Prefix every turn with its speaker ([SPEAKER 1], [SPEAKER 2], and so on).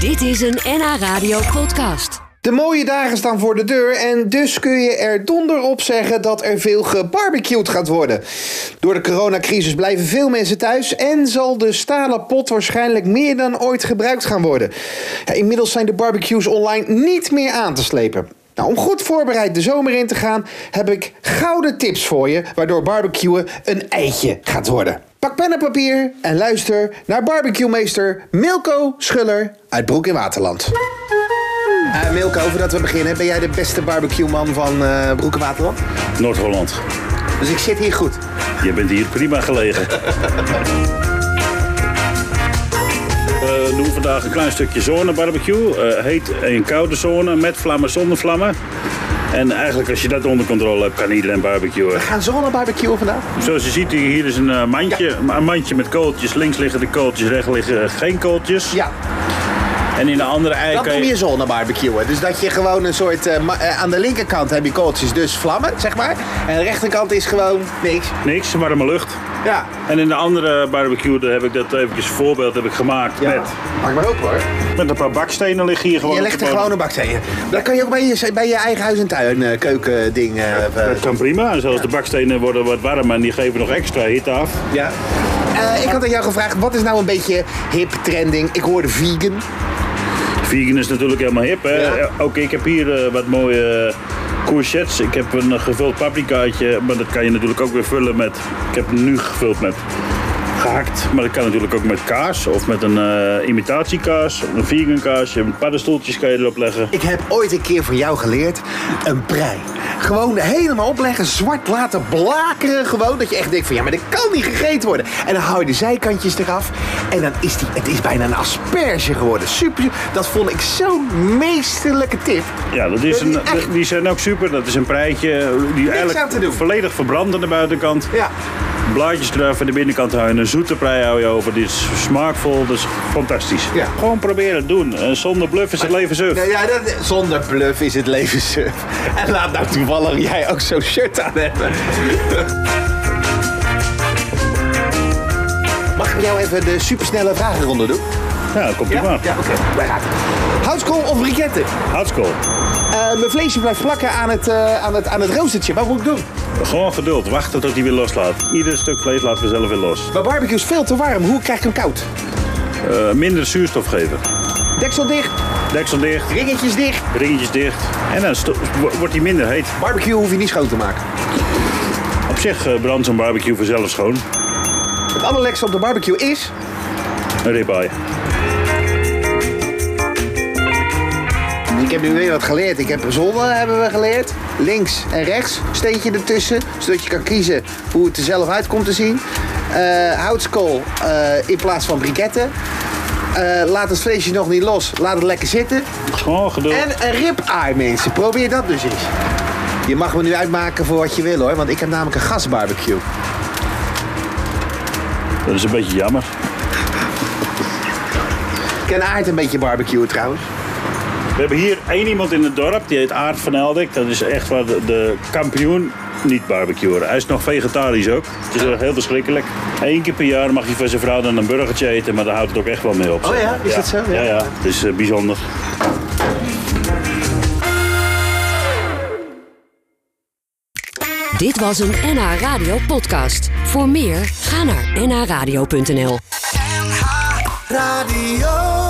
[SPEAKER 1] Dit is een NH Radio podcast.
[SPEAKER 2] De mooie dagen staan voor de deur en dus kun je er donder op zeggen dat er veel gebarbecued gaat worden. Door de coronacrisis blijven veel mensen thuis en zal de stalen pot waarschijnlijk meer dan ooit gebruikt gaan worden. Ja, inmiddels zijn de barbecues online niet meer aan te slepen. Nou, om goed voorbereid de zomer in te gaan, heb ik gouden tips voor je waardoor barbecuen een eitje gaat worden. Pak pen en papier en luister naar barbecuemeester Milko Schuller uit Broek in Waterland. Eh Milko, voordat we beginnen, ben jij de beste barbecue-man van eh Broek en Waterland?
[SPEAKER 3] Noord-Holland.
[SPEAKER 2] Dus ik zit hier goed.
[SPEAKER 3] Je bent hier prima gelegen. Eh, We doen vandaag een klein stukje zonebarbecue. eh heet in koude zone met vlammen zonder vlammen. En eigenlijk als je dat onder controle hebt, kan iedereen barbecuen.
[SPEAKER 2] We gaan zo naar barbecue vandaag.
[SPEAKER 3] Zoals je ziet, hier is een eh, mandje. Een mandje met kooltjes. Links liggen de kooltjes, rechts liggen geen kooltjes.
[SPEAKER 2] Ja, eh,
[SPEAKER 3] En in de andere ei
[SPEAKER 2] dat
[SPEAKER 3] kan
[SPEAKER 2] noem
[SPEAKER 3] je...
[SPEAKER 2] je zonnebarbecuen. Dus dat je gewoon een soort... eh, ma- eh, aan de linkerkant heb je kooltjes, dus vlammen, zeg maar. En de rechterkant is gewoon niks.
[SPEAKER 3] Niks, warme lucht.
[SPEAKER 2] Ja.
[SPEAKER 3] En in de andere barbecue, daar heb ik dat eventjes een voorbeeld heb ik gemaakt met...
[SPEAKER 2] Maak maar open hoor.
[SPEAKER 3] Met een paar bakstenen liggen hier gewoon
[SPEAKER 2] Je
[SPEAKER 3] op
[SPEAKER 2] legt
[SPEAKER 3] de
[SPEAKER 2] er
[SPEAKER 3] bodem.
[SPEAKER 2] gewoon een bakstenen. Dat kan je ook bij je, bij je eigen huis en tuin eh, keuken ding. eh, eh,
[SPEAKER 3] Dat kan prima. En zelfs de bakstenen worden wat warm en die geven nog extra hitte af.
[SPEAKER 2] ja. Eh, ik had aan jou gevraagd, wat is nou een beetje hip trending? Ik hoorde vegan.
[SPEAKER 3] Vegan is natuurlijk helemaal hip. Hè?
[SPEAKER 2] Ja.
[SPEAKER 3] Eh, Ook ik heb hier eh, wat mooie eh, courgettes. Ik heb een eh, gevuld paprikaatje, maar dat kan je natuurlijk ook weer vullen met... Ik heb nu gevuld met gehakt, maar dat kan natuurlijk ook met kaas of met een eh, imitatiekaas, een vegan kaas. Je hebt paddenstoeltjes kan je erop leggen.
[SPEAKER 2] Ik heb ooit een keer van jou geleerd, een prei. Gewoon helemaal opleggen, zwart laten blakeren gewoon. Dat je echt denkt van, ja, maar dat kan niet gegeten worden. En dan hou je de zijkantjes eraf. En dan is die, het is bijna een asperge geworden. Super, dat vond ik zo'n meesterlijke tip.
[SPEAKER 3] Ja, dat is een,
[SPEAKER 2] Echt?
[SPEAKER 3] die zijn ook super. Dat is een prijtje eh, die
[SPEAKER 2] aan te
[SPEAKER 3] eigenlijk
[SPEAKER 2] doen.
[SPEAKER 3] volledig verbrandt aan de buitenkant.
[SPEAKER 2] Ja.
[SPEAKER 3] Blaadjes eraf aan de binnenkant houden. Een zoete prei hou je over. Die is smaakvol. Dat is fantastisch.
[SPEAKER 2] Ja.
[SPEAKER 3] Gewoon proberen doen. En zonder bluff is het leven suf.
[SPEAKER 2] Nou ja, dat, zonder bluff is het leven suf. En laat nou toevallig jij ook zo'n shirt aan hebben. Mag ik jou even de supersnelle vragenronde doen?
[SPEAKER 3] Ja, Nou, komt ie maar.
[SPEAKER 2] Ja, oké. Wij gaan. Houtskool of briketten?
[SPEAKER 3] Hartskool.
[SPEAKER 2] Eh, mijn vleesje blijft plakken aan het, eh, aan het, aan het roostertje. Wat moet ik doen?
[SPEAKER 3] Gewoon geduld. Wachten tot hij weer loslaat. Ieder stuk vlees laten we zelf weer los.
[SPEAKER 2] Mijn barbecue is veel te warm. Hoe krijg ik hem koud?
[SPEAKER 3] Eh, minder zuurstof geven.
[SPEAKER 2] Deksel dicht,
[SPEAKER 3] Deksel dicht.
[SPEAKER 2] ringetjes dicht.
[SPEAKER 3] Ringetjes dicht. En dan sto- wo- wordt hij minder heet.
[SPEAKER 2] Barbecue hoef je niet schoon te maken.
[SPEAKER 3] Op zich eh, brandt zo'n barbecue vanzelf schoon.
[SPEAKER 2] Het allerlekste op de barbecue is...
[SPEAKER 3] Een ribeye.
[SPEAKER 2] Ik heb nu weer wat geleerd. Ik heb zonnen hebben we geleerd. Links en rechts. Steentje ertussen. Zodat je kan kiezen hoe het er zelf uit komt te zien. Eh, houtskool eh, in plaats van briketten. Eh, laat het vleesje nog niet los. Laat het lekker zitten.
[SPEAKER 3] Gewoon geduld.
[SPEAKER 2] En een ribeye, mensen. Probeer dat dus eens. Je mag me nu uitmaken voor wat je wil, hoor. Want ik heb namelijk een gasbarbecue.
[SPEAKER 3] Dat is een beetje jammer.
[SPEAKER 2] Ik ken Aard een beetje barbecue, trouwens.
[SPEAKER 3] We hebben hier één iemand in het dorp, die heet Aart van Eldik. Dat is echt waar de, de kampioen niet barbecuer. Hij is nog vegetarisch ook. Het is echt heel verschrikkelijk. Eén keer per jaar mag hij van zijn vrouw dan een burgertje eten, maar daar houdt het ook echt wel mee op.
[SPEAKER 2] Oh ja? Is dat zo? Ja.
[SPEAKER 3] Ja, ja. Het is eh, bijzonder.
[SPEAKER 1] Dit was een NH Radio podcast. Voor meer, ga naar nhradio.nl.
[SPEAKER 4] NH Radio.